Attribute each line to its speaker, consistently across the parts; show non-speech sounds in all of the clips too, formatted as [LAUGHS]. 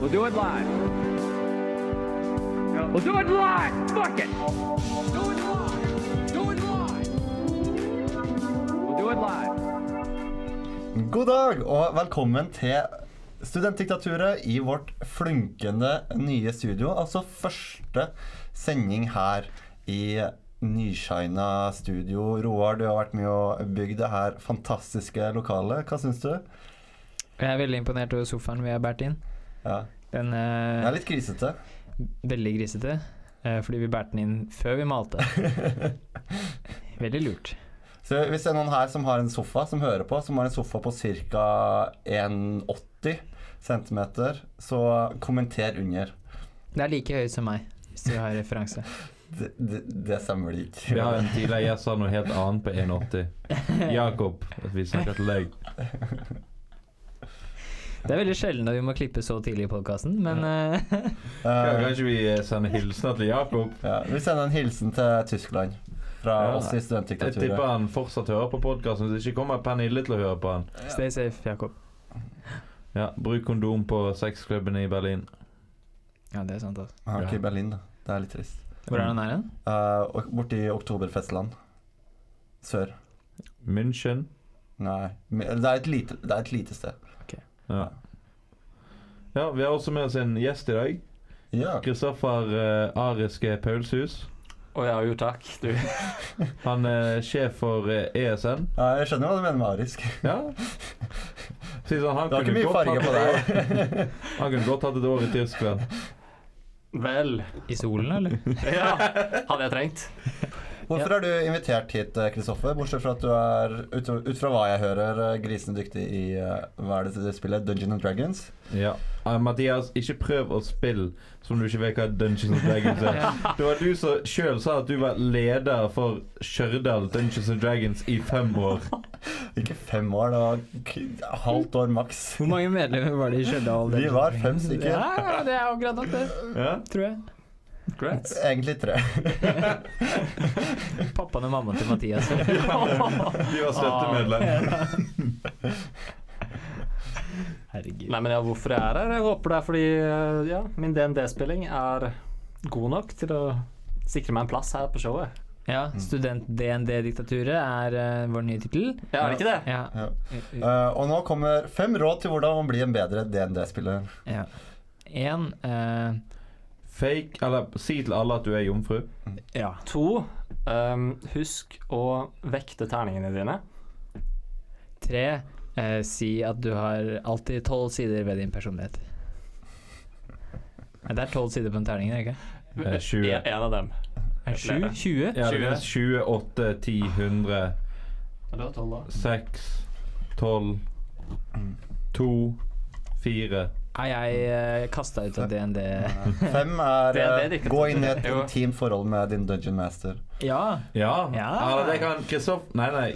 Speaker 1: We'll do it live. We'll do it live. Fuck it. Do it live. Do it live. We'll do it live.
Speaker 2: God dag og velkommen til Studentdiktaturet i vårt flunkende nye studio. Altså første sending her i nyshina studio. Roar, du har vært med og bygd det her fantastiske lokalet. Hva syns du?
Speaker 3: Jeg er veldig imponert over sofaen vi har båret inn.
Speaker 2: Ja.
Speaker 3: Den
Speaker 2: Det
Speaker 3: er
Speaker 2: er litt grisete.
Speaker 3: veldig grisete, eh, fordi vi båret den inn før vi
Speaker 2: [LAUGHS]
Speaker 3: malte. veldig lurt.
Speaker 2: Så hvis det er noen her som har en sofa, som hører på, som har en sofa på ca. 1,80 cm, så kommenter under.
Speaker 3: Det er like høy som meg, hvis du har referanse.
Speaker 2: Det, det, det stemmer det ikke.
Speaker 4: Vi har en tidligere gjest som sa noe helt annet på 1,80. Jakob. at Vi snakker til deg.
Speaker 3: Det er veldig sjelden at vi må klippe så tidlig i podkasten, men eh, [LAUGHS]
Speaker 4: Ja,
Speaker 2: Eh,
Speaker 4: Kanskje vi eh, sender hilsener til Jakob?
Speaker 2: Ja, vi sender en hilsen til Tyskland fra
Speaker 4: Ja.
Speaker 2: oss i
Speaker 4: Jeg tipper
Speaker 2: studentdiktaturet.
Speaker 4: han fortsatt hører på podkasten, så ikke kommer Pernille til å høre på han.
Speaker 3: stay safe, Jakob.
Speaker 4: Ja, Bruk kondom på sexklubben i Berlin.
Speaker 3: Ja, det er sant, altså.
Speaker 2: Han er ikke
Speaker 4: Ja.
Speaker 2: i Berlin, da. Det er litt trist.
Speaker 3: Hvor er den her hen?
Speaker 2: Eh, og borti Oktoberfestland. Sør.
Speaker 4: München.
Speaker 2: Nei. men Det er et lite, det er et lite sted.
Speaker 4: Ja. ja, vi har også med oss en gjest i dag.
Speaker 2: Ja.
Speaker 4: Kristoffer eh, Ariske Paulshus.
Speaker 5: Å ja, jo takk. Du.
Speaker 4: Han er sjef for eh, ESN.
Speaker 2: ja. Jeg skjønner hva du mener med arisk.
Speaker 4: Ja.
Speaker 2: [LAUGHS]
Speaker 4: Si sånn, han
Speaker 2: Det var ikke
Speaker 4: kunne
Speaker 2: mye
Speaker 4: godt
Speaker 2: farge på
Speaker 4: hatt-
Speaker 2: [LAUGHS] deg.
Speaker 4: Han kunne godt hatt et år i Tyskland.
Speaker 5: [LAUGHS] Vel.
Speaker 3: I solen, eller?
Speaker 5: Ja, hadde jeg trengt.
Speaker 2: Hvorfor er du invitert hit, eh, Kristoffer? Bortsett fra at du er, ut, ut fra hva jeg hører, eh, grisende dyktig i eh, Hva er det det spillet? Dungeon and Dragons?
Speaker 4: Ja. Eh, Mathias, ikke prøv å spille som du ikke vet hva Dungeons and Dragons er. Det var du som sjøl sa at du var leder for Stjørdal Dungeons and Dragons i fem år.
Speaker 2: Ikke fem år, det var k- halvt år maks.
Speaker 3: [LAUGHS]
Speaker 2: [LAUGHS]
Speaker 3: Hvor mange medlemmer var det i Stjørdal?
Speaker 2: Vi var fem stykker.
Speaker 3: Ja, det er akkurat nok, det.
Speaker 4: Ja?
Speaker 3: Tror jeg.
Speaker 5: Great.
Speaker 2: Egentlig [LAUGHS] tre.
Speaker 3: Pappaen og mammaen til Mathias.
Speaker 4: De var
Speaker 2: [LAUGHS]
Speaker 4: støttemedlem.
Speaker 3: Herregud.
Speaker 5: Nei, men ja, hvorfor jeg er her? Jeg håper det er fordi eh, ja, min DND-spilling er god nok til å sikre meg en plass her på showet.
Speaker 3: Ja, Student-DND-diktaturet er eh, vår nye tittel.
Speaker 5: Ja, er det ikke det?
Speaker 3: Ja.
Speaker 2: Ja. Eh, og nå kommer fem råd til hvordan man blir en bedre DND-spiller.
Speaker 3: ja. En, eh,
Speaker 4: Fake Eller si til alle at du er jomfru.
Speaker 3: ja.
Speaker 5: To. ehm, husk å vekte terningene dine.
Speaker 3: Tre, eh, si at du har alltid tolv sider ved din personlighet. Nei, det er tolv sider på den terningen, er det ikke?
Speaker 4: Eh, 20.
Speaker 5: En, en av dem.
Speaker 3: Er det Sju? 20?
Speaker 4: Ja, det er 28, 10, 100,
Speaker 5: Ja, det var tolv, da.
Speaker 4: 6, 12, 2, 4
Speaker 3: Nei, jeg eh, kasta ut av DND.
Speaker 2: Fem er
Speaker 5: Det- det
Speaker 2: eh,
Speaker 5: liker jeg.
Speaker 2: gå inn i et
Speaker 5: Jo.
Speaker 2: intimt forhold med din dungeon master.
Speaker 3: Ja.
Speaker 4: Ja.
Speaker 3: Ja.
Speaker 4: Eller det kan Kristoff- Nei, nei.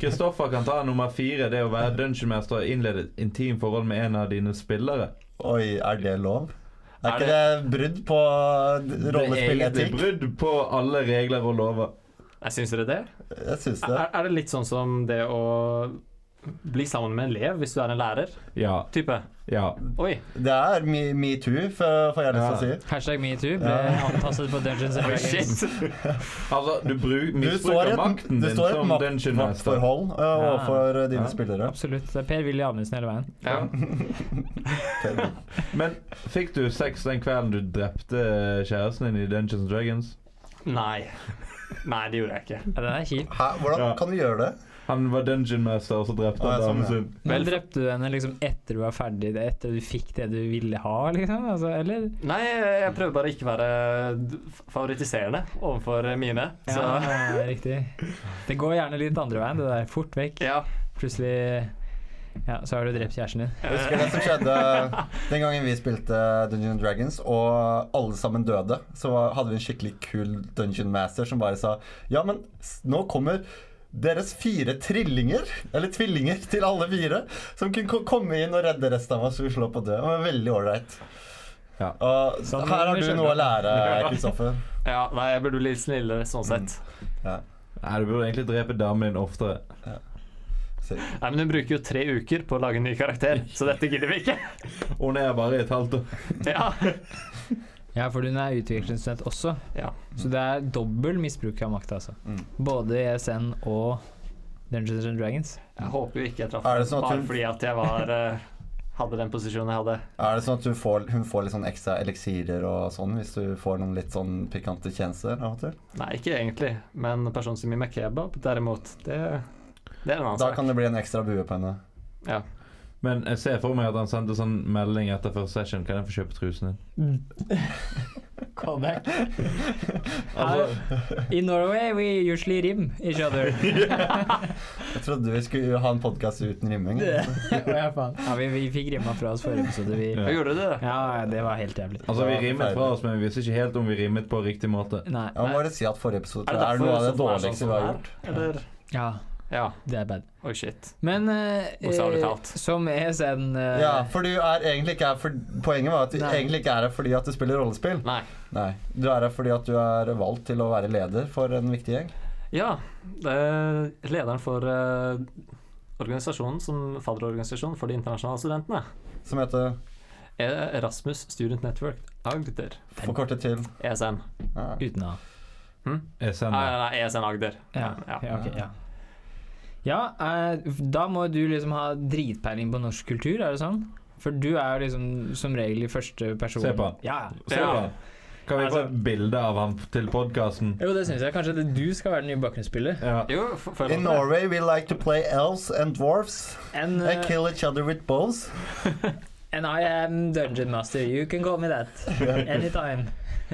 Speaker 4: Kristoffer kan ta nummer fire. Det å være dungeonmester og innlede et intimt forhold med en av dine spillere.
Speaker 2: Oi, er det lov? Er,
Speaker 5: Er
Speaker 2: ikke det brudd på eh, d-
Speaker 4: Det er
Speaker 2: rollespilletikk?
Speaker 4: brudd på alle regler og lover.
Speaker 5: Jeg syns dere det?
Speaker 2: Jeg syns det.
Speaker 5: Er, er det litt sånn som det å bli sammen med en elev hvis du er en lærer?
Speaker 4: Ja.
Speaker 5: Type.
Speaker 4: Ja.
Speaker 5: Oi.
Speaker 2: Det er me- metoo, me får jeg lyst til å si.
Speaker 3: Hashtag metoo ble antastet på Dungeons and
Speaker 5: Oi,
Speaker 3: Dragons.
Speaker 5: shit.
Speaker 4: Altså, du bru-
Speaker 2: Du står i
Speaker 4: misbruker
Speaker 2: et,
Speaker 4: makten
Speaker 2: du
Speaker 4: din
Speaker 2: står i et
Speaker 4: som
Speaker 2: makt-
Speaker 4: dungeonmester.
Speaker 2: maktforhold eh, overfor eh, dine
Speaker 4: Ja.
Speaker 2: spillere.
Speaker 3: Absolutt. Det er Per-Willy Amundsen hele veien.
Speaker 5: Ja.
Speaker 4: Men fikk du sex den kvelden du drepte eh, kjæresten din i Dungeons and Dragons?
Speaker 5: Nei. Nei, det gjorde jeg ikke.
Speaker 3: Ja, den er kjip.
Speaker 2: Hæ, hvordan
Speaker 4: Ja.
Speaker 2: kan du gjøre det?
Speaker 4: Han var dungeonmester, og så drepte
Speaker 2: Ah,
Speaker 4: han
Speaker 2: ja, sånn,
Speaker 4: damen
Speaker 2: ja.
Speaker 4: sin.
Speaker 3: Men
Speaker 5: Vel-
Speaker 3: drepte du henne liksom etter du var ferdig, etter du fikk det du ville ha, liksom? Altså, eller?
Speaker 5: Nei, jeg prøver bare ikke være d- favoritiserende overfor mine. Så
Speaker 3: Ja, riktig. Det går gjerne litt andre veien, det der. Fort vekk.
Speaker 5: ja.
Speaker 3: Plutselig ja, så har du drept kjæresten din.
Speaker 2: Jeg husker det som skjedde den gangen vi spilte Dungeon Dragons, og alle sammen døde. Så hadde vi en skikkelig kul Dungeon Master som bare sa Ja, men s- nå kommer deres fire trillinger, eller tvillinger til alle fire, som kunne ko- komme inn og redde resten av oss. Vi slapp å dø. Det var veldig ålreit.
Speaker 4: Ja.
Speaker 2: Og
Speaker 3: Sånn
Speaker 2: her har
Speaker 3: vi
Speaker 2: du
Speaker 3: skjønner.
Speaker 2: noe å lære, Kristoffer.
Speaker 5: ja. Nei, jeg burde
Speaker 2: Mm.
Speaker 5: bli litt snillere sånn sett.
Speaker 4: Nei, du burde egentlig drepe damen din oftere.
Speaker 2: Så-
Speaker 5: Nei, men hun bruker jo tre uker på å lage en ny karakter, så dette gidder vi ikke.
Speaker 4: Hun er bare i et halvt år.
Speaker 5: Ja.
Speaker 3: Ja, for hun er utviklingsstudent også,
Speaker 5: ja.
Speaker 3: så det er dobbel misbruk av makt, altså.
Speaker 2: Mm.
Speaker 3: Både ESN og Dungeons and Dragons.
Speaker 5: Jeg håper jo ikke jeg traff
Speaker 2: Er det sånn at
Speaker 5: bare
Speaker 2: hun-
Speaker 5: fordi at jeg var eh, hadde den posisjonen jeg hadde.
Speaker 2: Er det sånn at hun får, hun får litt sånn ekstra eliksirer og sånn hvis du får noen litt sånn pikante tjenester av og til?
Speaker 5: Nei, ikke egentlig, men personen som gir meg kebab, derimot, det, det er en annen
Speaker 2: Da
Speaker 5: sak.
Speaker 2: kan det bli en ekstra bue på henne.
Speaker 5: Ja.
Speaker 4: Men jeg ser for meg at han sendte sånn melding etter første session. Kan jeg få kjøpe trusen din?
Speaker 3: Mm. [LAUGHS] Callback.
Speaker 4: Altså,
Speaker 3: In Norway we usually rim each [LAUGHS] other.
Speaker 2: Jeg trodde vi skulle ha en podkast uten rimming.
Speaker 3: Ja, vi, vi fikk rimma fra oss forrige episode. Vi,
Speaker 4: Ja.
Speaker 5: Jeg gjorde det.
Speaker 3: ja, det var helt jævlig.
Speaker 4: altså vi rimet fra oss, men vi visste ikke helt om vi rimet på riktig måte.
Speaker 3: Nei.
Speaker 2: Jeg må bare si at forrige episode
Speaker 5: Er
Speaker 2: er,
Speaker 5: det derfor
Speaker 2: noe av det
Speaker 5: som er sånn
Speaker 2: dårligste
Speaker 5: som
Speaker 2: vi har
Speaker 5: det
Speaker 2: gjort.
Speaker 5: er? Eller?
Speaker 3: Ja,
Speaker 5: Ja.
Speaker 3: det er bad.
Speaker 5: Oi, shit.
Speaker 3: Men eh,
Speaker 5: Bokstavelig talt.
Speaker 3: eh, som ESN eh,
Speaker 2: Ja, for du er egentlig ikke her for, Poenget var at du
Speaker 3: Nei.
Speaker 2: egentlig ikke er her fordi at du spiller rollespill.
Speaker 5: Nei.
Speaker 2: Nei. Du er her fordi at du er valgt til å være leder for en viktig gjeng.
Speaker 5: Ja, det er lederen for eh, organisasjonen som fadderorganisasjon for de internasjonale studentene.
Speaker 2: Som heter
Speaker 5: Eh, Erasmus Student Network Agder,
Speaker 2: Forkortet til
Speaker 5: ESN.
Speaker 2: ja.
Speaker 3: Uten A.
Speaker 4: Jeg
Speaker 5: Nei,
Speaker 4: sender.
Speaker 5: nei, nei, ESN Agder.
Speaker 3: Ja,
Speaker 5: Ja.
Speaker 3: ja, ok, ja. ja eh, da må du liksom ha dritpeiling på norsk kultur, er det sånn? For du er jo liksom som regel i første person.
Speaker 4: Se på han.
Speaker 3: Ja.
Speaker 4: Se på han. Kan vi få
Speaker 5: Altså-
Speaker 4: et bilde av han til podkasten?
Speaker 3: Jo, det syns jeg. Kanskje det du skal være den nye bakgrunnsspiller.
Speaker 4: Ja.
Speaker 5: Jo, f- føler
Speaker 2: In
Speaker 5: at det-
Speaker 2: Norway we like to play elves and dwarves.
Speaker 3: And,
Speaker 2: They
Speaker 3: eh,
Speaker 2: kill each other with bows.
Speaker 3: and eh, I am dungeon master. You can call me
Speaker 4: [LAUGHS]
Speaker 3: that. Anytime.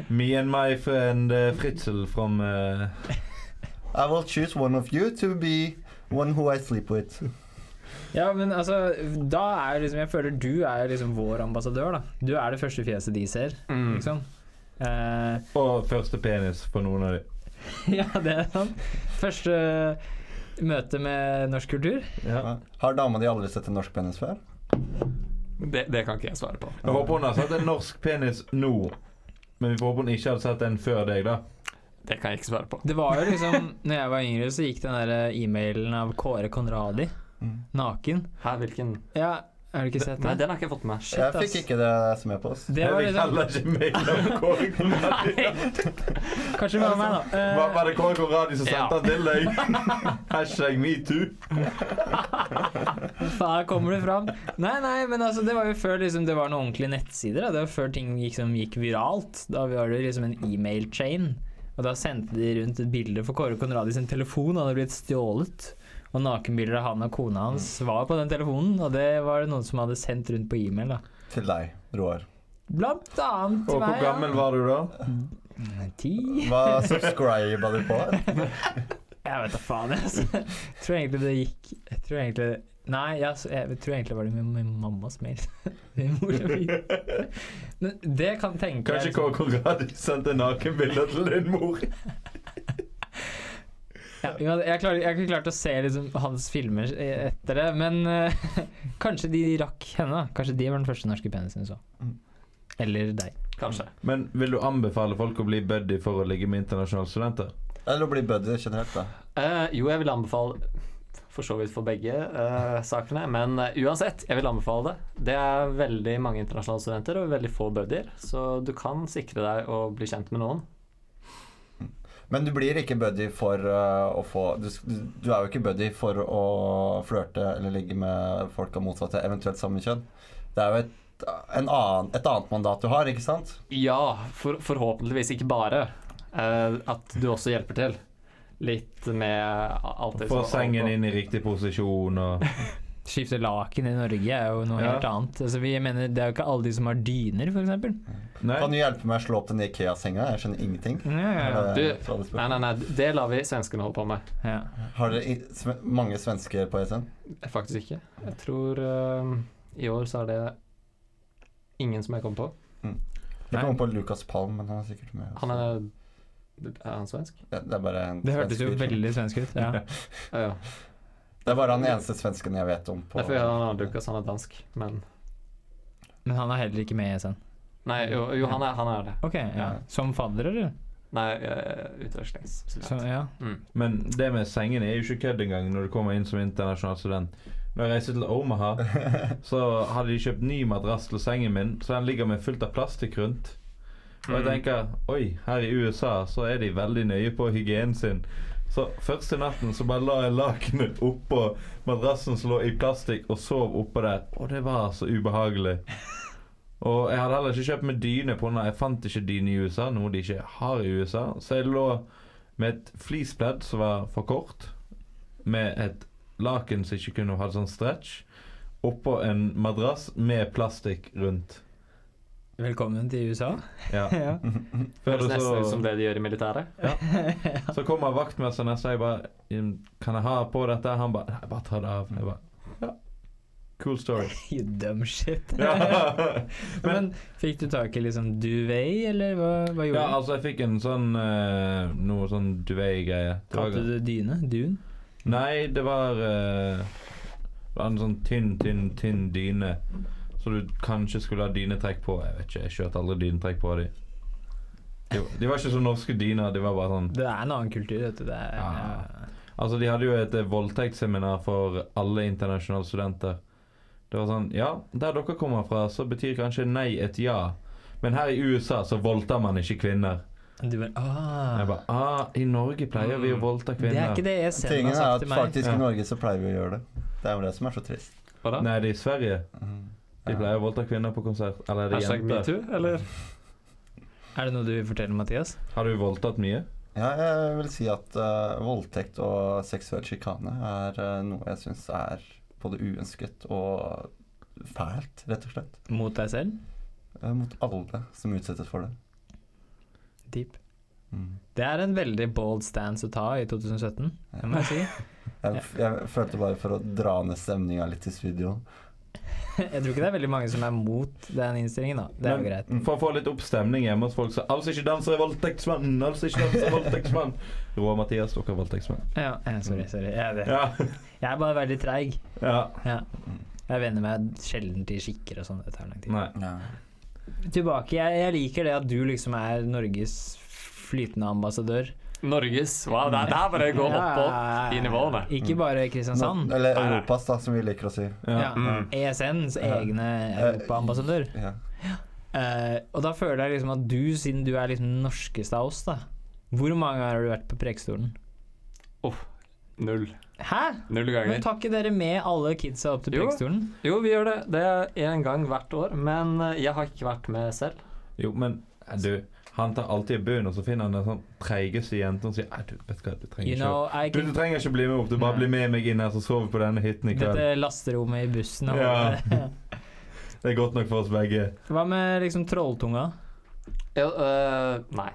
Speaker 4: Me and my friend eh, Fritzel from eh,
Speaker 2: I will choose one of you to be one who I sleep
Speaker 3: [LAUGHS]
Speaker 2: with.
Speaker 3: Ja, men altså, da er jo liksom Jeg føler du er jo liksom vår ambassadør, da. Du er det første fjeset de ser,
Speaker 5: Mm.
Speaker 3: liksom. Eh, [LAUGHS]
Speaker 4: Og første penis på noen av de.
Speaker 3: ja, det er sant. Første møte med norsk kultur.
Speaker 4: Ja.
Speaker 2: Har dama di aldri sett en norsk penis før?
Speaker 5: Det, det kan ikke jeg svare på.
Speaker 4: Jeg håper hun har sett en norsk penis nå. Men vi får håpe hun ikke hadde sett en før deg, da.
Speaker 5: Det kan jeg ikke svare på.
Speaker 3: Det var jo liksom Når jeg var yngre, så gikk den der eh, e-mailen av Kåre Konradi.
Speaker 2: Mm.
Speaker 3: Naken.
Speaker 5: Hæ, hvilken
Speaker 3: Ja, har du ikke sett
Speaker 5: Nei,
Speaker 3: den?
Speaker 5: den har ikke jeg fått med.
Speaker 3: Shit,
Speaker 2: Jeg
Speaker 3: ass.
Speaker 2: fikk ikke det som er på oss.
Speaker 3: Det var
Speaker 4: jeg fikk
Speaker 3: liksom
Speaker 4: heller ikke mail om
Speaker 3: [LAUGHS]
Speaker 4: Kåre Conradi.
Speaker 3: Kanskje det var meg, da.
Speaker 4: Var,
Speaker 3: Eh,
Speaker 4: var det Kåre Conradi som
Speaker 5: Ja.
Speaker 4: sendte den til
Speaker 3: [LAUGHS]
Speaker 4: deg? Hashtag metoo.
Speaker 3: Eh, faen, kommer du fram? Nei, nei, men altså, det var jo før liksom, det var noen ordentlige nettsider. Da. Det var før ting gikk, som gikk viralt. Da var det liksom en e-mail-chain. Og da sendte de rundt et bilde for Kåre Konradi sin telefon hadde blitt stjålet. Og nakenbilder av han og kona hans var på den telefonen, og det var det noen som hadde sendt rundt på e-mail. da.
Speaker 2: Til deg, Roar.
Speaker 3: Blant annet til
Speaker 4: Og hvor
Speaker 3: meg. ja.
Speaker 4: gammel var du da?
Speaker 3: Ti?
Speaker 2: Hva subscriba du på?
Speaker 3: Jeg vet da faen, jeg. Altså. Jeg tror egentlig det gikk Jeg tror egentlig Nei, jeg, altså, jeg tror egentlig var det min, min mammas mail. [LAUGHS] Min mor som fikk Men det kan tenke liksom-
Speaker 4: Kanskje Kåre Conradi sendte nakenbilder til din mor?
Speaker 3: ja, jo, Jeg klarer- jeg har ikke klart å se liksom, hans filmer eh, etter det, men eh, [LAUGHS] kanskje de rakk henne. da. Kanskje de var den første norske penisen hun så.
Speaker 2: Mm.
Speaker 3: Eller deg.
Speaker 5: Kanskje.
Speaker 4: Men vil du anbefale folk å bli buddy for å ligge med internasjonale studenter?
Speaker 2: Eller å bli buddy generelt, da.
Speaker 5: Eh, jo, jeg vil anbefale for så vidt for begge eh, sakene, men eh, uansett, jeg vil anbefale det. Det er veldig mange internasjonale studenter og veldig få buddier, så du kan sikre deg å bli kjent med noen.
Speaker 2: Men du blir ikke buddy for uh, å få du, s- du du er jo ikke buddy for å flørte eller ligge med folk av motsatte, eventuelt samme kjønn. Det er jo et, en annen, et annet mandat du har, ikke sant?
Speaker 5: Ja, for, forhåpentligvis ikke bare. eh, at du også hjelper til. Litt med alt det sånn
Speaker 4: Få sengen
Speaker 5: din
Speaker 4: inn i riktig posisjon og
Speaker 3: Skifte laken i Norge er jo noe
Speaker 4: Ja.
Speaker 3: helt annet. Altså, vi mener, det er jo ikke alle de som har dyner, f.eks.
Speaker 4: Nei?
Speaker 2: Kan du hjelpe meg å slå opp den Ikea-senga? Jeg skjønner ingenting.
Speaker 3: Ja, ja,
Speaker 2: Eh,
Speaker 5: Du-
Speaker 2: fra det spørsmålet.
Speaker 5: Nei, nei, nei, det lar vi svenskene holde på med.
Speaker 3: ja. ja.
Speaker 2: Har dere i- sve- mange svensker på E ESN?
Speaker 5: Faktisk ikke. Jeg tror eh, i år så er det ingen som jeg kom på.
Speaker 2: Jeg
Speaker 3: Nei.
Speaker 2: kom på Lukas Palm, men han er sikkert med. også.
Speaker 5: Han er Er han svensk?
Speaker 2: det, det er bare en
Speaker 3: Det hørtes jo
Speaker 2: svensk fyr.
Speaker 3: veldig svensk ut. Ja.
Speaker 5: Ja, ja.
Speaker 2: Det er bare han eneste svensken jeg vet om. På,
Speaker 5: Derfor gjør han andre Lucas, han er dansk. Men
Speaker 3: Men han er heller ikke med i ESN.
Speaker 5: Nei, jo, jo han, er, han er det.
Speaker 3: Ok, ja. Som fadder, eller?
Speaker 5: Nei, eh, utvekslingsstudent.
Speaker 3: Så, ja.
Speaker 5: Mm.
Speaker 4: Men det med sengene er jo ikke kødd engang når du kommer inn som internasjonal student. Når jeg reiste til Omaha, så hadde de kjøpt ny madrass til sengen min, så den ligger med fullt av plastikk rundt. Og
Speaker 5: Mm.
Speaker 4: jeg tenker Oi, her i USA så er de veldig nøye på hygienen sin. Så første natten så bare la jeg lakenet oppå madrassen som lå i plastikk, og sov oppå der. Og det var så
Speaker 5: [LAUGHS]
Speaker 4: ubehagelig. Og jeg hadde heller ikke kjøpt med dyne på når jeg fant ikke dyne i USA, noe de ikke har i USA. Så jeg lå med et fleecepledd som var for kort, med et laken som ikke kunne ha sånn stretch, oppå en madrass med plastikk rundt.
Speaker 3: Velkommen til USA.
Speaker 4: Ja.
Speaker 3: Ja.
Speaker 4: Før
Speaker 5: Høres
Speaker 4: det
Speaker 5: nesten ut som
Speaker 4: så,
Speaker 5: [LAUGHS] det de gjør i militæret.
Speaker 4: så kommer vaktmesteren og sier bare "Jim, Kan jeg ha på dette? Han bare Nei, bare ta det av. Jeg bare Ja. Cool story.
Speaker 3: [LAUGHS] You dumb shit.
Speaker 4: Ja.
Speaker 3: Men fikk du tak i liksom duvet, eller hva, hva
Speaker 4: ja,
Speaker 3: gjorde du?
Speaker 4: altså, jeg fikk en sånn eh, Noe sånn duvet-greie. Det var-
Speaker 3: Kalte du det dyne? Dun?
Speaker 4: Nei, det var eh, det var en sånn tynn, tynn, tynn dyne. Så du kanskje skulle ha dynetrekk på. Jeg vet ikke, jeg kjørte aldri dynetrekk på de. De, de var ikke så norske dyner. De var bare sånn
Speaker 3: Det er en annen kultur, vet du. Det er,
Speaker 4: Ja. Altså, de hadde jo et eh, voldtektsseminar for alle internasjonale studenter. Det var sånn Ja, der dere kommer fra, så betyr kanskje nei et ja. Men her i USA så voldtar man ikke kvinner.
Speaker 3: Du bare ah, Mm.
Speaker 4: Jeg bare ah, I Norge pleier vi å voldta
Speaker 3: Det er
Speaker 4: kvinner.
Speaker 3: ikke det ESN
Speaker 2: Tingen
Speaker 3: har
Speaker 2: er
Speaker 3: sagt
Speaker 2: at
Speaker 3: til meg.
Speaker 2: faktisk
Speaker 4: Ja.
Speaker 2: i Norge så pleier vi å gjøre det. Det er jo det som er så trist.
Speaker 5: Hva da?
Speaker 4: Nei, det er i Sverige.
Speaker 2: Mm.
Speaker 4: De
Speaker 3: Ah.
Speaker 2: Ja.
Speaker 4: pleier å voldta kvinner på konsert. Eller er det
Speaker 5: Hashtag
Speaker 4: jenter?
Speaker 5: metoo, eller?
Speaker 3: Er det noe du vil fortelle, Mathias?
Speaker 4: Har du voldtatt mye?
Speaker 2: Ja, jeg vil si at eh, voldtekt og seksuell sjikane er eh, noe jeg syns er både uønsket og fælt, rett og slett.
Speaker 3: Mot deg selv?
Speaker 2: Eh, mot alle som utsettes for det.
Speaker 3: Deep.
Speaker 2: Mm.
Speaker 3: Det er en veldig bold stance å ta i 2017, det må jeg si.
Speaker 2: Jeg, jeg følte bare for å dra ned stemninga litt i studio.
Speaker 3: Jeg tror ikke det er veldig mange som er mot den innstillingen, da. Det er jo
Speaker 4: Men-
Speaker 3: greit.
Speaker 4: For å få litt opp stemning hjemme hos folk, så altså ikke danser er voldtektsmann! Altså ikke danser er
Speaker 3: [LAUGHS]
Speaker 4: voldtektsmann! Rå Mathias, dere er voldtektsmann.
Speaker 3: Ja, eh, sorry, sorry. Jeg er, det.
Speaker 4: Ja.
Speaker 3: jeg er bare veldig treig.
Speaker 4: ja.
Speaker 3: Ja. Jeg venner meg sjelden til skikker og sånn. Det tar lang tid.
Speaker 4: Nei.
Speaker 2: Ja.
Speaker 3: Tilbake. Jeg, jeg liker det at du liksom er Norges flytende ambassadør.
Speaker 5: Norges. Wow, det er der bare går opp og opp i nivåene.
Speaker 3: Ikke bare Kristiansand.
Speaker 2: Eller
Speaker 5: Sånn. Nei, nei.
Speaker 2: Europas, da, som vi liker å si.
Speaker 4: Ja.
Speaker 3: Ja. E
Speaker 5: Mm.
Speaker 3: ESNs egne europaambassadør.
Speaker 2: Ja.
Speaker 3: Eh, og da føler jeg liksom at du, siden du er liksom den norskeste av oss, da Hvor mange ganger har du vært på Preikestolen?
Speaker 5: Null.
Speaker 3: Hæ?!
Speaker 5: Null
Speaker 3: Men
Speaker 5: ganger.
Speaker 3: tar ikke dere med alle kidsa opp til
Speaker 5: Jo.
Speaker 3: Preikestolen?
Speaker 5: Jo, vi gjør det. Det er én gang hvert år. Men eh, jeg har ikke vært med selv.
Speaker 4: Jo, men eh, du, han tar alltid bunnen, og så finner han den sånn treigeste jenta og sier Nei, du, vet du hva, du trenger
Speaker 3: You
Speaker 4: ikke
Speaker 3: know, I
Speaker 4: du, du
Speaker 3: can
Speaker 4: trenger ikke bli med opp, du bare
Speaker 3: Nei.
Speaker 4: blir med meg inn her, så sover vi på denne hytten i kveld.
Speaker 3: Dette lasterommet i bussen og
Speaker 4: Ja. Det er godt nok for oss begge.
Speaker 3: [LAUGHS] Hva med liksom trolltunga?
Speaker 5: Ja, øh, nei.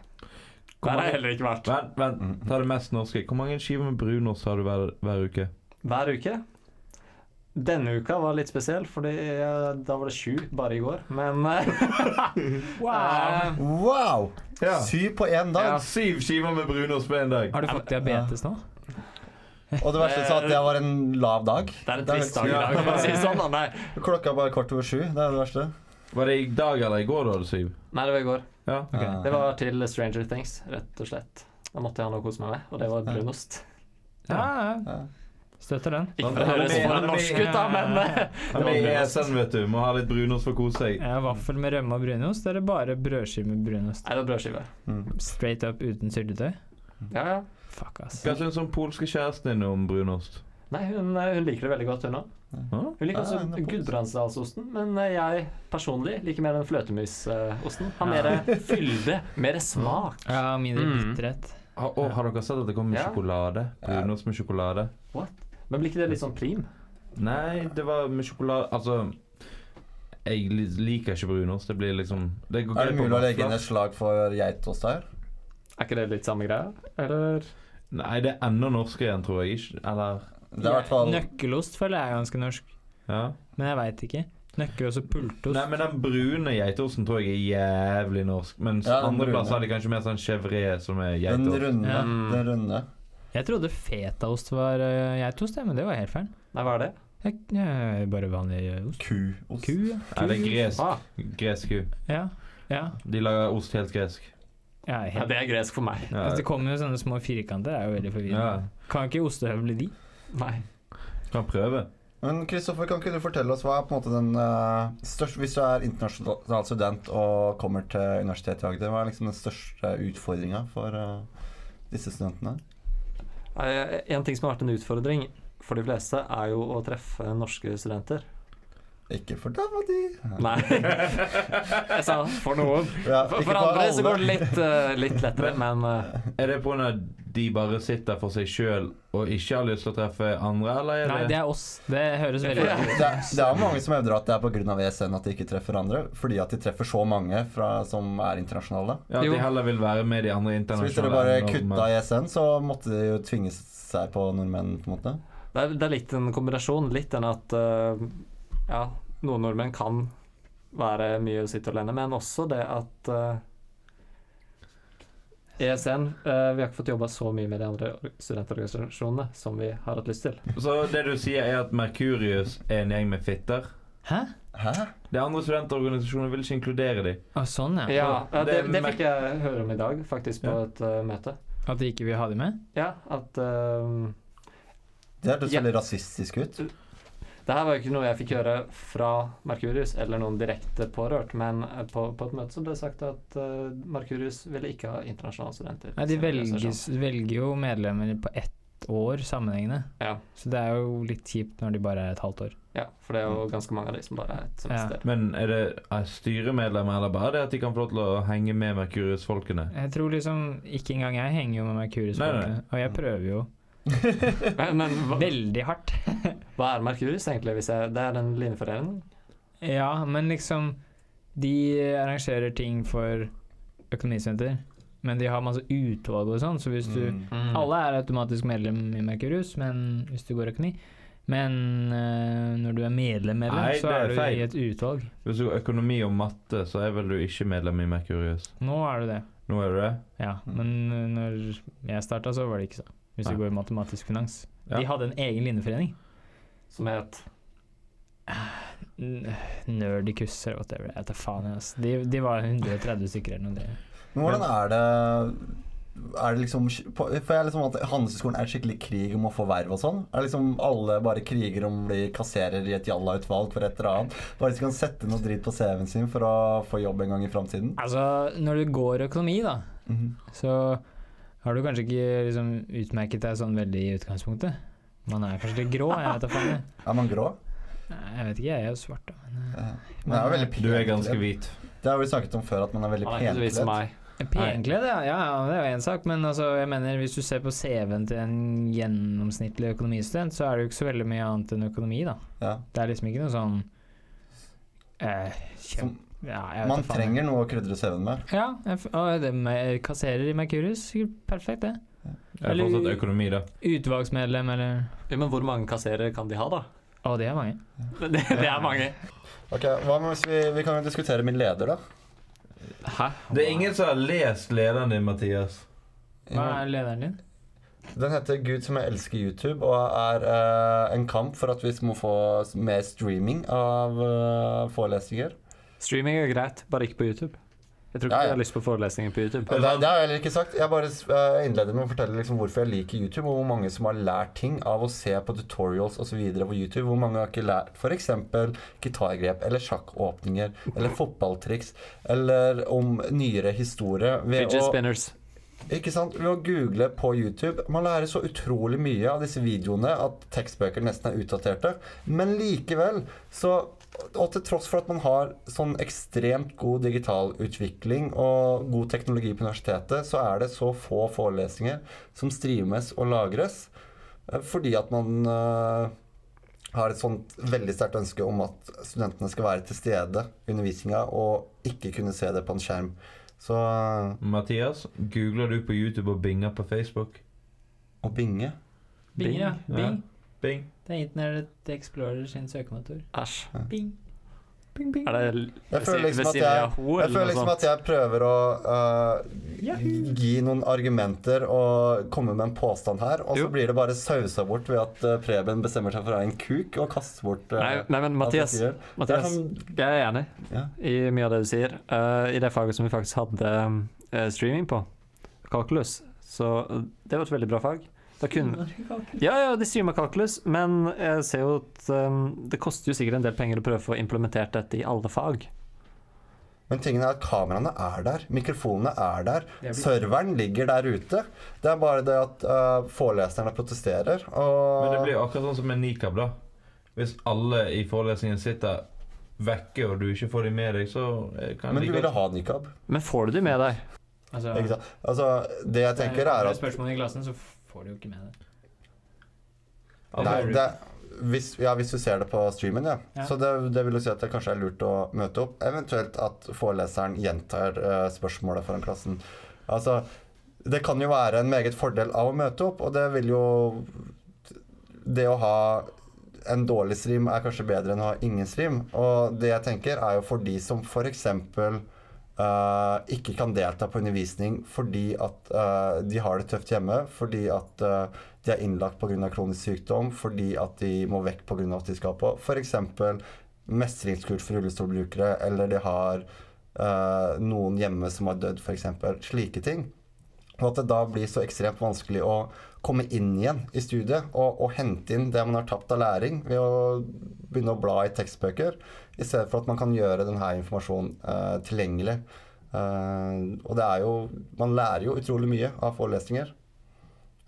Speaker 5: Der
Speaker 4: Hvor
Speaker 5: har
Speaker 4: mange-
Speaker 5: jeg heller ikke vært.
Speaker 4: Vent, vent,
Speaker 2: Mhm.
Speaker 4: ta det mest norske. Hvor mange skiver med brunost har du hver, hver uke?
Speaker 5: Hver uke. Denne uka var litt spesiell, fordi eh, da var det sju bare i går. Men eh, [LAUGHS] eh,
Speaker 2: Wow!
Speaker 4: Ja.
Speaker 2: Syv på én dag!
Speaker 5: Ja.
Speaker 4: Syv skiver med brunost på én dag.
Speaker 3: Har du fått diabetes nå?
Speaker 2: Og det verste sa at det var en lav dag.
Speaker 5: det er en
Speaker 2: Det er
Speaker 5: trist
Speaker 2: helt
Speaker 5: dag i dag, for å si det sånn. Da. Nei.
Speaker 2: Klokka er bare kvart over sju. Det er det verste.
Speaker 4: Var det i dag eller i går du hadde syv?
Speaker 5: nei, det var i går.
Speaker 4: Ja.
Speaker 2: Ja.
Speaker 5: Det var til Stranger Things, rett og slett. Da måtte jeg ha noe å kose meg med, og det var brunost.
Speaker 3: Ja, ja.
Speaker 2: Ja.
Speaker 3: Støtter den.
Speaker 5: Ikke for å høres for en norsk ut, da, men eh,
Speaker 4: Ja,
Speaker 5: det var
Speaker 4: men i
Speaker 5: brunost.
Speaker 4: ESN, vet du. Må ha litt brunost for å kose seg.
Speaker 3: Ja, vaffel med rømme og brunost, eller bare brødskive med brunost?
Speaker 5: Nei, det var brødskive.
Speaker 2: Mm.
Speaker 3: Straight up uten syltetøy?
Speaker 5: Ja, ja.
Speaker 3: Fuck, ass.
Speaker 4: Hva syns den polske kjæresten din om brunost?
Speaker 5: Nei, hun, eh, hun liker det veldig godt, hun òg.
Speaker 4: Hå?
Speaker 5: Hun liker
Speaker 2: Ah,
Speaker 5: også
Speaker 2: hun er positiv.
Speaker 5: Gudbrandsdalsosten, men eh, jeg personlig liker mer den fløtemusosten. Har mer eh, fylde, mer smak.
Speaker 3: Ja, mindre
Speaker 5: Mm.
Speaker 3: bitterhet.
Speaker 4: Ha, å, har dere sett at det kommer med
Speaker 5: Ja.
Speaker 4: sjokolade? Brunost med sjokolade?
Speaker 5: Men blir ikke det litt sånn prim?
Speaker 4: Nei, det var med sjokolade Altså jeg li- liker ikke brunost. Det blir liksom det går
Speaker 2: Er det
Speaker 4: greit på
Speaker 2: mulig å legge inn
Speaker 4: vafler.
Speaker 2: et slag for geitost her?
Speaker 5: Er ikke det litt samme greia? Eller
Speaker 4: Nei, det er enda norskere igjen, tror jeg. Ikke? Eller
Speaker 2: Det er i hvert fall
Speaker 3: Nøkkelost føler jeg er ganske norsk,
Speaker 4: ja.
Speaker 3: men jeg veit ikke. Nøkkelost og pultost.
Speaker 4: Nei, men den brune geitosten tror jeg er jævlig norsk. Mens
Speaker 2: Ja, den
Speaker 4: andre
Speaker 2: brune.
Speaker 4: plasser har de kanskje mer sånn chevre som er
Speaker 2: den
Speaker 4: geitost.
Speaker 2: runde.
Speaker 3: Ja.
Speaker 2: Den runde.
Speaker 3: Jeg trodde fetaost var uh, geitost, ja, men det var helt feil.
Speaker 5: Nei, hva er det?
Speaker 3: Jeg, jeg, bare vanlig ø, ost.
Speaker 2: Kuost.
Speaker 3: Ku, ja.
Speaker 4: Nei, det er gresk.
Speaker 5: Ah,
Speaker 4: Gresk ku.
Speaker 3: Ja. ja.
Speaker 4: De lager ost helt gresk.
Speaker 3: Ja,
Speaker 5: Ja,
Speaker 3: helt.
Speaker 5: det er gresk for meg.
Speaker 4: Ja,
Speaker 3: Altså, det kommer jo sånne små firkanter, det er jo veldig forvirrende. Kan ikke ostehøvle de?
Speaker 5: Nei.
Speaker 4: kan prøve.
Speaker 2: Men Kristoffer, kan ikke du fortelle oss hva er på en måte den eh, største Hvis du er internasjonal student og kommer til universitetet i Agder, hva er liksom den største utfordringa for eh, disse studentene?
Speaker 5: Eh, En ting som har vært en utfordring for de fleste, er jo å treffe norske studenter.
Speaker 2: Ikke for dem og de [LAUGHS]
Speaker 5: Nei. Jeg sa for noen.
Speaker 2: Ja,
Speaker 5: For,
Speaker 2: ikke
Speaker 5: for andre så
Speaker 2: alle.
Speaker 5: går det litt, eh, litt lettere, men eh,
Speaker 4: Er det pga. at de bare sitter for seg sjøl og ikke har lyst til å treffe andre, eller er
Speaker 3: Nei, det er oss. Det høres veldig
Speaker 5: Ja.
Speaker 2: [LAUGHS] det, er- det er mange som hevder at det er pga. ESN E at de ikke treffer andre, fordi at de treffer så mange fra, som er internasjonale.
Speaker 4: ja, at
Speaker 5: Jo.
Speaker 4: de heller vil være med de andre
Speaker 2: Så hvis
Speaker 4: internasjonale?
Speaker 2: dere bare
Speaker 4: enn om-
Speaker 2: kutta ESN, så måtte de jo tvinge seg på nordmenn, på en måte.
Speaker 5: det er, det er litt en kombinasjon. Litt den at eh, ja, noen nordmenn kan være mye å sitte alene, men også det at eh, ESN eh, Vi har ikke fått jobba så mye med de andre studentorganisasjonene som vi har hatt lyst til.
Speaker 4: Så det du sier, er at Merkurius er en gjeng med fitter?
Speaker 3: Hæ?
Speaker 2: Hæ?
Speaker 4: De andre studentorganisasjonene vil ikke inkludere de.
Speaker 3: Å, sånn, ja.
Speaker 5: Ja, ja, eh, det,
Speaker 4: det-
Speaker 5: det fikk jeg høre om i dag, faktisk, på
Speaker 4: Ja.
Speaker 5: et eh, møte.
Speaker 3: At de ikke vil ha de med?
Speaker 5: Ja, at eh,
Speaker 2: Det hørtes
Speaker 5: Ja.
Speaker 2: veldig rasistisk ut.
Speaker 5: Det her var jo ikke noe jeg fikk høre fra Merkurius eller noen direkte pårørt, men eh, på, på et møte så ble det sagt at eh, Merkurius ville ikke ha internasjonale studenter.
Speaker 3: Nei, de
Speaker 5: som
Speaker 3: velges,
Speaker 5: organisasjon.
Speaker 4: sånn.
Speaker 3: velger jo medlemmer på ett år sammenhengende.
Speaker 5: Ja.
Speaker 3: Så det er jo litt kjipt når de bare er et halvt år.
Speaker 5: ja, for det er
Speaker 3: Mm.
Speaker 5: jo ganske mange av de som bare er et semester.
Speaker 4: Men er det er styremedlemmer eller bare det at de kan få lov til å henge med Merkurius-folkene?
Speaker 3: Jeg tror liksom Ikke engang jeg henger jo med Merkurius,
Speaker 4: Nei, Mm. nei.
Speaker 3: folkene, og jeg prøver jo
Speaker 5: Men, men hva,
Speaker 3: veldig hardt.
Speaker 5: hva er Merkurius egentlig? Hvis jeg, det er en linjeforening?
Speaker 3: Ja, men liksom De arrangerer ting for økonomisenter, men de har masse utvalg og sånn, så hvis du
Speaker 2: Mm.
Speaker 3: Alle er automatisk medlem i Merkurius, men hvis du går økonomi. Men eh, når du er medlem, medlem
Speaker 4: Nei,
Speaker 3: så
Speaker 4: det er
Speaker 3: er du
Speaker 4: feil.
Speaker 3: i et utvalg.
Speaker 4: Hvis du går økonomi og matte, så er vel du ikke medlem i Merkurius?
Speaker 3: Nå er du det.
Speaker 4: Nå er du det?
Speaker 3: Ja, men eh, når jeg starta, så var det ikke sånn. Hvis
Speaker 4: Nei.
Speaker 3: du går i matematisk finans.
Speaker 4: Ja.
Speaker 3: De hadde en egen linjeforening.
Speaker 5: Som het
Speaker 3: N- Nerdicus eller whatever. Jeg vet da faen. jeg, ass. De, de var 130 stykker eller noe. det-
Speaker 2: Men hvordan er det er det liksom, for jeg er liksom vant til- Handelshøyskolen er skikkelig krig om å få verv og sånn. Er det liksom alle bare kriger om å bli kasserer i et jallautvalg for et eller annet? Bare de kan sette noe drit på CV-en sin for å få jobb en gang i framtiden?
Speaker 3: Altså, når du går økonomi, da,
Speaker 2: Mhm.
Speaker 3: så har du kanskje ikke liksom utmerket deg sånn veldig i utgangspunktet. Man er kanskje litt grå, jeg vet da faen. jeg.
Speaker 2: Er man grå?
Speaker 3: [LAUGHS] Nei, Jeg vet ikke, jeg er jo svart, da. Men eh,
Speaker 2: Man er jo veldig
Speaker 4: Du er
Speaker 2: pent
Speaker 4: ganske
Speaker 2: kledd.
Speaker 4: hvit.
Speaker 2: Det har vi snakket om før, at man er veldig
Speaker 5: Han er ikke så vis
Speaker 2: penkledd.
Speaker 5: som meg.
Speaker 3: Penkledd, ja. ja. ja, Det er jo én sak. Men altså, jeg mener, hvis du ser på CV-en til en gjennomsnittlig økonomistudent, så er det jo ikke så veldig mye annet enn økonomi, da.
Speaker 2: Ja.
Speaker 3: Det er liksom ikke noe sånn eh, kjem,
Speaker 2: Som-
Speaker 3: ja, jeg vet
Speaker 2: Man
Speaker 3: da faen.
Speaker 2: trenger noe å krydre CV-en med.
Speaker 3: Ja. Jeg, f- å, det med kasserer i Mercurius, perfekt, det.
Speaker 4: Jeg er
Speaker 3: Eller-
Speaker 4: fortsatt økonomi, da.
Speaker 3: Utvalgsmedlem, eller
Speaker 5: Ja, men hvor mange kasserere kan de ha, da? [LAUGHS]
Speaker 3: Å, det er mange.
Speaker 5: Det, det er mange.
Speaker 2: Ok, hva med hvis Vi, vi kan jo diskutere min leder, da.
Speaker 5: Hæ?
Speaker 4: Det er ingen som har lest lederen din, Mathias.
Speaker 3: Hva er lederen din?
Speaker 2: Den heter Gud som jeg elsker YouTube, og er eh, en kamp for at vi må få s- mer streaming av eh, forelesninger.
Speaker 5: Streaming er greit, bare ikke på YouTube. Jeg tror ikke
Speaker 2: Ja, ja.
Speaker 5: jeg har lyst på forelesninger på YouTube.
Speaker 2: Det, det har jeg heller ikke sagt. Jeg bare eh, innleder med å fortelle liksom hvorfor jeg liker YouTube, og hvor mange som har lært ting av å se på tutorials osv. på YouTube. Hvor mange har ikke lært f.eks. gitargrep eller sjakkåpninger eller fotballtriks eller om nyere historie. ved
Speaker 5: Fidget
Speaker 2: å-
Speaker 5: spinners.
Speaker 2: Ikke sant? Ved å google på YouTube. Man lærer så utrolig mye av disse videoene at tekstbøker nesten er utdaterte. Men likevel så Og til tross for at man har sånn ekstremt god digital utvikling og god teknologi på universitetet, så er det så få forelesninger som streames og lagres eh, fordi at man eh, har et sånt veldig sterkt ønske om at studentene skal være til stede i undervisninga og ikke kunne se det på en skjerm. Så eh,
Speaker 4: Mathias, googler du på YouTube og binger på Facebook?
Speaker 2: å binge
Speaker 3: Bing, ja.
Speaker 4: Bing.
Speaker 3: Bing.
Speaker 4: Bing.
Speaker 3: Det er Internet Explorer sin søkemotor.
Speaker 5: Æsj.
Speaker 3: Bing. Bing, bing.
Speaker 5: Er det l-
Speaker 2: Jeg føler
Speaker 5: ved
Speaker 2: liksom at
Speaker 5: siden av
Speaker 2: jeg,
Speaker 5: Yahoo
Speaker 2: jeg,
Speaker 5: eller noe
Speaker 2: føler liksom
Speaker 5: sånt?
Speaker 2: at jeg prøver å øh, gi noen argumenter og komme med en påstand her, og så
Speaker 5: Jo.
Speaker 2: blir det bare sausa bort ved at øh, Preben bestemmer seg for å være en kuk og kaste bort øh,
Speaker 5: Nei, nei, men
Speaker 2: alt jeg
Speaker 5: Mathias,
Speaker 2: sier. Det er
Speaker 5: Mathias,
Speaker 2: sånn-
Speaker 5: jeg er enig
Speaker 2: Ja.
Speaker 5: i mye av det du sier. Eh, I det faget som vi faktisk hadde um, eh, streaming på. Calculus. Så eh, det var et veldig bra fag. Da
Speaker 2: Mm.
Speaker 5: kunne, ja, ja, de streama Calculus, men jeg ser jo at eh, det koster jo sikkert en del penger å prøve å få implementert dette i alle fag.
Speaker 2: Men tingen er at kameraene er der, mikrofonene er der,
Speaker 3: Det blir-
Speaker 2: serveren ligger der ute. Det er bare det at eh, foreleserne protesterer, og
Speaker 4: Men det blir jo akkurat sånn som med nikab, da. Hvis alle i forelesningen sitter vekke, og du ikke får dem med deg, så eh, kan
Speaker 2: Men du
Speaker 4: like-
Speaker 2: ville ha nikab.
Speaker 5: Men får du det med deg?
Speaker 3: Altså,
Speaker 2: Ikke sant? Altså, det jeg tenker, er at
Speaker 3: spørsmål i klassen, så får du jo ikke med det.
Speaker 2: Nei,
Speaker 4: Altså,
Speaker 2: det er, hvis, ja, hvis du ser det på streamen, ja.
Speaker 3: Ja.
Speaker 2: Så det, det vil jo si at det kanskje er lurt å møte opp. Eventuelt at foreleseren gjentar eh, spørsmålet foran klassen. Altså, det kan jo være en meget fordel av å møte opp, og det vil jo Det å ha en dårlig stream er kanskje bedre enn å ha ingen stream. Og det jeg tenker, er jo for de som f.eks. Uh, ikke kan delta på undervisning fordi at eh, de har det tøft hjemme, fordi at eh, de er innlagt pga. kronisk sykdom, fordi at de må vekk pga. at de skal på f.eks. mestringskurs for rullestolbrukere, eller de har eh, noen hjemme som har dødd, f.eks. Slike ting. Og at det da blir så ekstremt vanskelig å komme inn igjen i studiet og, og hente inn det man har tapt av læring ved å begynne å bla i tekstbøker, i stedet for at man kan gjøre denne informasjonen eh, tilgjengelig. Eh, og det er jo Man lærer jo utrolig mye av forelesninger.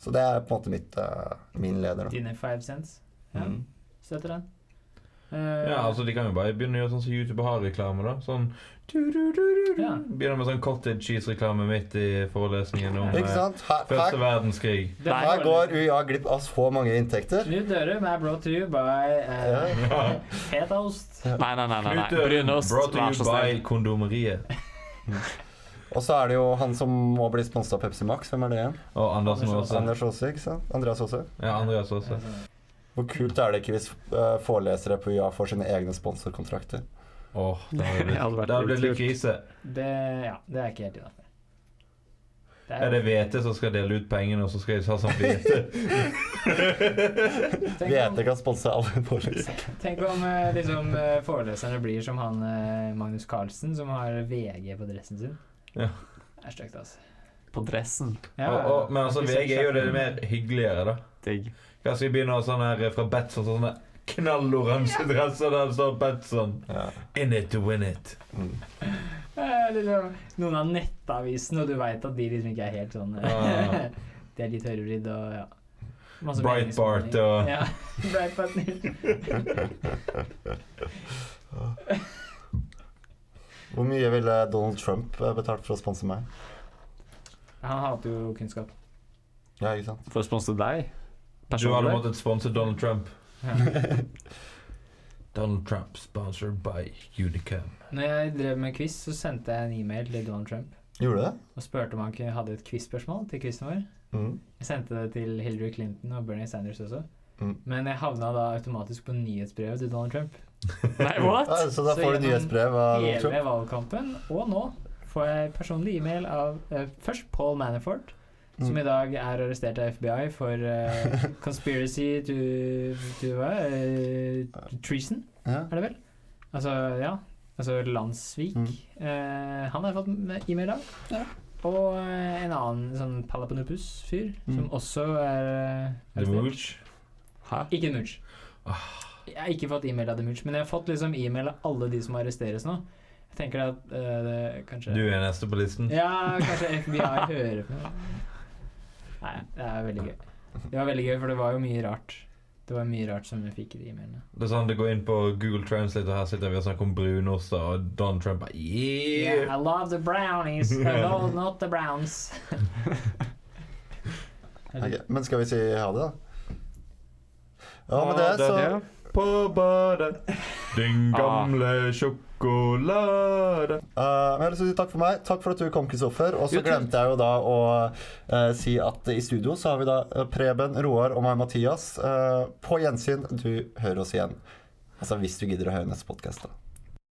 Speaker 2: Så det er på en måte mitt, eh, min leder. Da.
Speaker 3: Dine five cents. Ja,
Speaker 2: Mm.
Speaker 3: støtter den. Eh,
Speaker 4: ja, altså, de kan jo bare begynne å gjøre sånn som YouTube har reklame, da. Sånn du, du, du, du, du.
Speaker 3: Ja.
Speaker 4: Begynner med sånn cottage cheese-reklame midt i forelesningen om
Speaker 2: Ikke
Speaker 4: eh,
Speaker 2: sant? Her,
Speaker 4: første
Speaker 2: her,
Speaker 4: verdenskrig.
Speaker 2: her går UiA glipp av så mange inntekter.
Speaker 3: Knut Dørum er brought to you by uh, [LAUGHS] fetaost.
Speaker 5: Nei, nei, nei. nei, nei.
Speaker 4: Knut Øren,
Speaker 5: Brunost,
Speaker 4: brought to
Speaker 5: vær så
Speaker 4: you by
Speaker 5: snill.
Speaker 4: Kondomeriet.
Speaker 2: Og så er det jo han som må bli sponsa av Pepsi Max. Hvem er det igjen?
Speaker 4: Og Andersen
Speaker 3: Anders
Speaker 4: også.
Speaker 2: Anders Aase, ikke sant? Andreas Aase.
Speaker 4: Ja, Andreas
Speaker 3: Eh,
Speaker 4: også.
Speaker 2: Hvor kult er det ikke hvis eh, forelesere på UiA får sine egne
Speaker 3: [LAUGHS]
Speaker 2: sponsorkontrakter?
Speaker 4: Åh, det
Speaker 5: [LAUGHS]
Speaker 4: hadde
Speaker 5: Det hadde vært
Speaker 4: blitt- det hadde blitt litt
Speaker 5: litt
Speaker 4: krise.
Speaker 3: Det, ja, det er ikke helt innafor. Det
Speaker 4: Er det VT som skal dele ut pengene, og så skal de ha sånn VT?
Speaker 3: tenk om-
Speaker 2: VT kan sponse alle forelesere.
Speaker 3: [LAUGHS] Tenk om eh, liksom, eh, foreleserne blir som han eh, Magnus Carlsen, som har VG på dressen sin.
Speaker 4: Ja.
Speaker 3: Det er stygt, altså.
Speaker 5: På dressen.
Speaker 3: Ja, liksom,
Speaker 4: Og- og- Men altså,
Speaker 3: ikke
Speaker 4: VG er jo det
Speaker 3: sant?
Speaker 4: mer hyggeligere, da.
Speaker 5: Digg.
Speaker 4: Hva skal vi begynne å ha sånn her eh, fra Betson, sånne knalloransje dresser der det står Betson?
Speaker 2: Ja. Mm.
Speaker 4: In it to win it.
Speaker 3: Eh, Liksom, noen av nettavisene, og du veit at de liksom ikke er helt sånn
Speaker 4: Ja.
Speaker 3: [LAUGHS] eh, De er litt høyrevridd og ja. Masse
Speaker 4: Breitbart
Speaker 3: meningsmålinger.
Speaker 4: og-
Speaker 3: ja, [LAUGHS] Breitbart News.
Speaker 2: Hvor mye ville Donald Trump eh, betalt for å sponse meg?
Speaker 3: Han hater jo kunnskap.
Speaker 2: Ja, ikke sant?
Speaker 5: For å sponse deg
Speaker 4: Du hadde
Speaker 5: personlig?
Speaker 4: måttet sponse Donald Trump.
Speaker 3: Ja.
Speaker 4: Donald Trump sponsored by Unicam.
Speaker 3: Når jeg drev med quiz, så sendte jeg en e-mail til Donald Trump
Speaker 2: Gjorde du det?
Speaker 3: og spurte om han kunne- hadde et quiz-spørsmål til quizen vår.
Speaker 2: Mm.
Speaker 3: Jeg sendte det til Hillary Clinton og Bernie Sanders også.
Speaker 2: Mm.
Speaker 3: Men jeg havna da automatisk på nyhetsbrevet til Donald Trump.
Speaker 5: Nei,
Speaker 2: Ja,
Speaker 5: what?
Speaker 2: så
Speaker 3: Så
Speaker 2: da får du
Speaker 3: gjennom
Speaker 2: nyhetsbrev av Donald
Speaker 3: Hele
Speaker 2: Trump?
Speaker 3: valgkampen, og nå, får jeg personlig e-mail av eh, først Paul Manafort, som
Speaker 2: Mm.
Speaker 3: i dag er arrestert av FBI for
Speaker 2: [LAUGHS]
Speaker 3: eh, conspiracy to, to hva? Eh, treason,
Speaker 2: Ja.
Speaker 3: er det vel? Altså, ja. Altså landssvik.
Speaker 2: Mm.
Speaker 3: Eh, han har jeg fått m- e-mail av. Og eh, en annen sånn Palapanupus-fyr, som
Speaker 2: Mm.
Speaker 3: også er eh,
Speaker 4: The
Speaker 3: arrestert.
Speaker 4: Mooch.
Speaker 5: Hæ?
Speaker 3: Ikke Mutch. Jeg har ikke fått e-mail av The Mutch, men jeg har fått liksom e-mail av alle de som arresteres nå. Jeg tenker at eh, det kanskje
Speaker 4: Du er neste på listen.
Speaker 3: Ja, kanskje FBI hører på. Nei, det er veldig gøy. Det var veldig gøy, for det var jo mye rart. Det var mye rart som jeg fikk i de e-mailene.
Speaker 4: Det er sånn, det går inn på Google Translate, og her sitter vi og snakker om brunoster, og Donald Trump bare
Speaker 3: Yeah,
Speaker 4: yeah.
Speaker 3: I love the brownies. No, not the browns.
Speaker 2: Ok, Men skal vi si ha det, da? Ja, med
Speaker 4: Ha
Speaker 2: det,
Speaker 4: det.
Speaker 2: så
Speaker 5: Ja.
Speaker 4: På badet. Din
Speaker 3: Ah.
Speaker 4: gamle sjokolade.
Speaker 2: Eh, men jeg har lyst til å si takk for meg. Takk for at du kom, Kristoffer. Og så
Speaker 5: Jo, takk.
Speaker 2: glemte jeg jo da å eh, si at i studio så har vi da eh, Preben, Roar og meg, Mathias. Eh, på gjensyn. Du hører oss igjen. Altså hvis du gidder å høre neste podkast, da.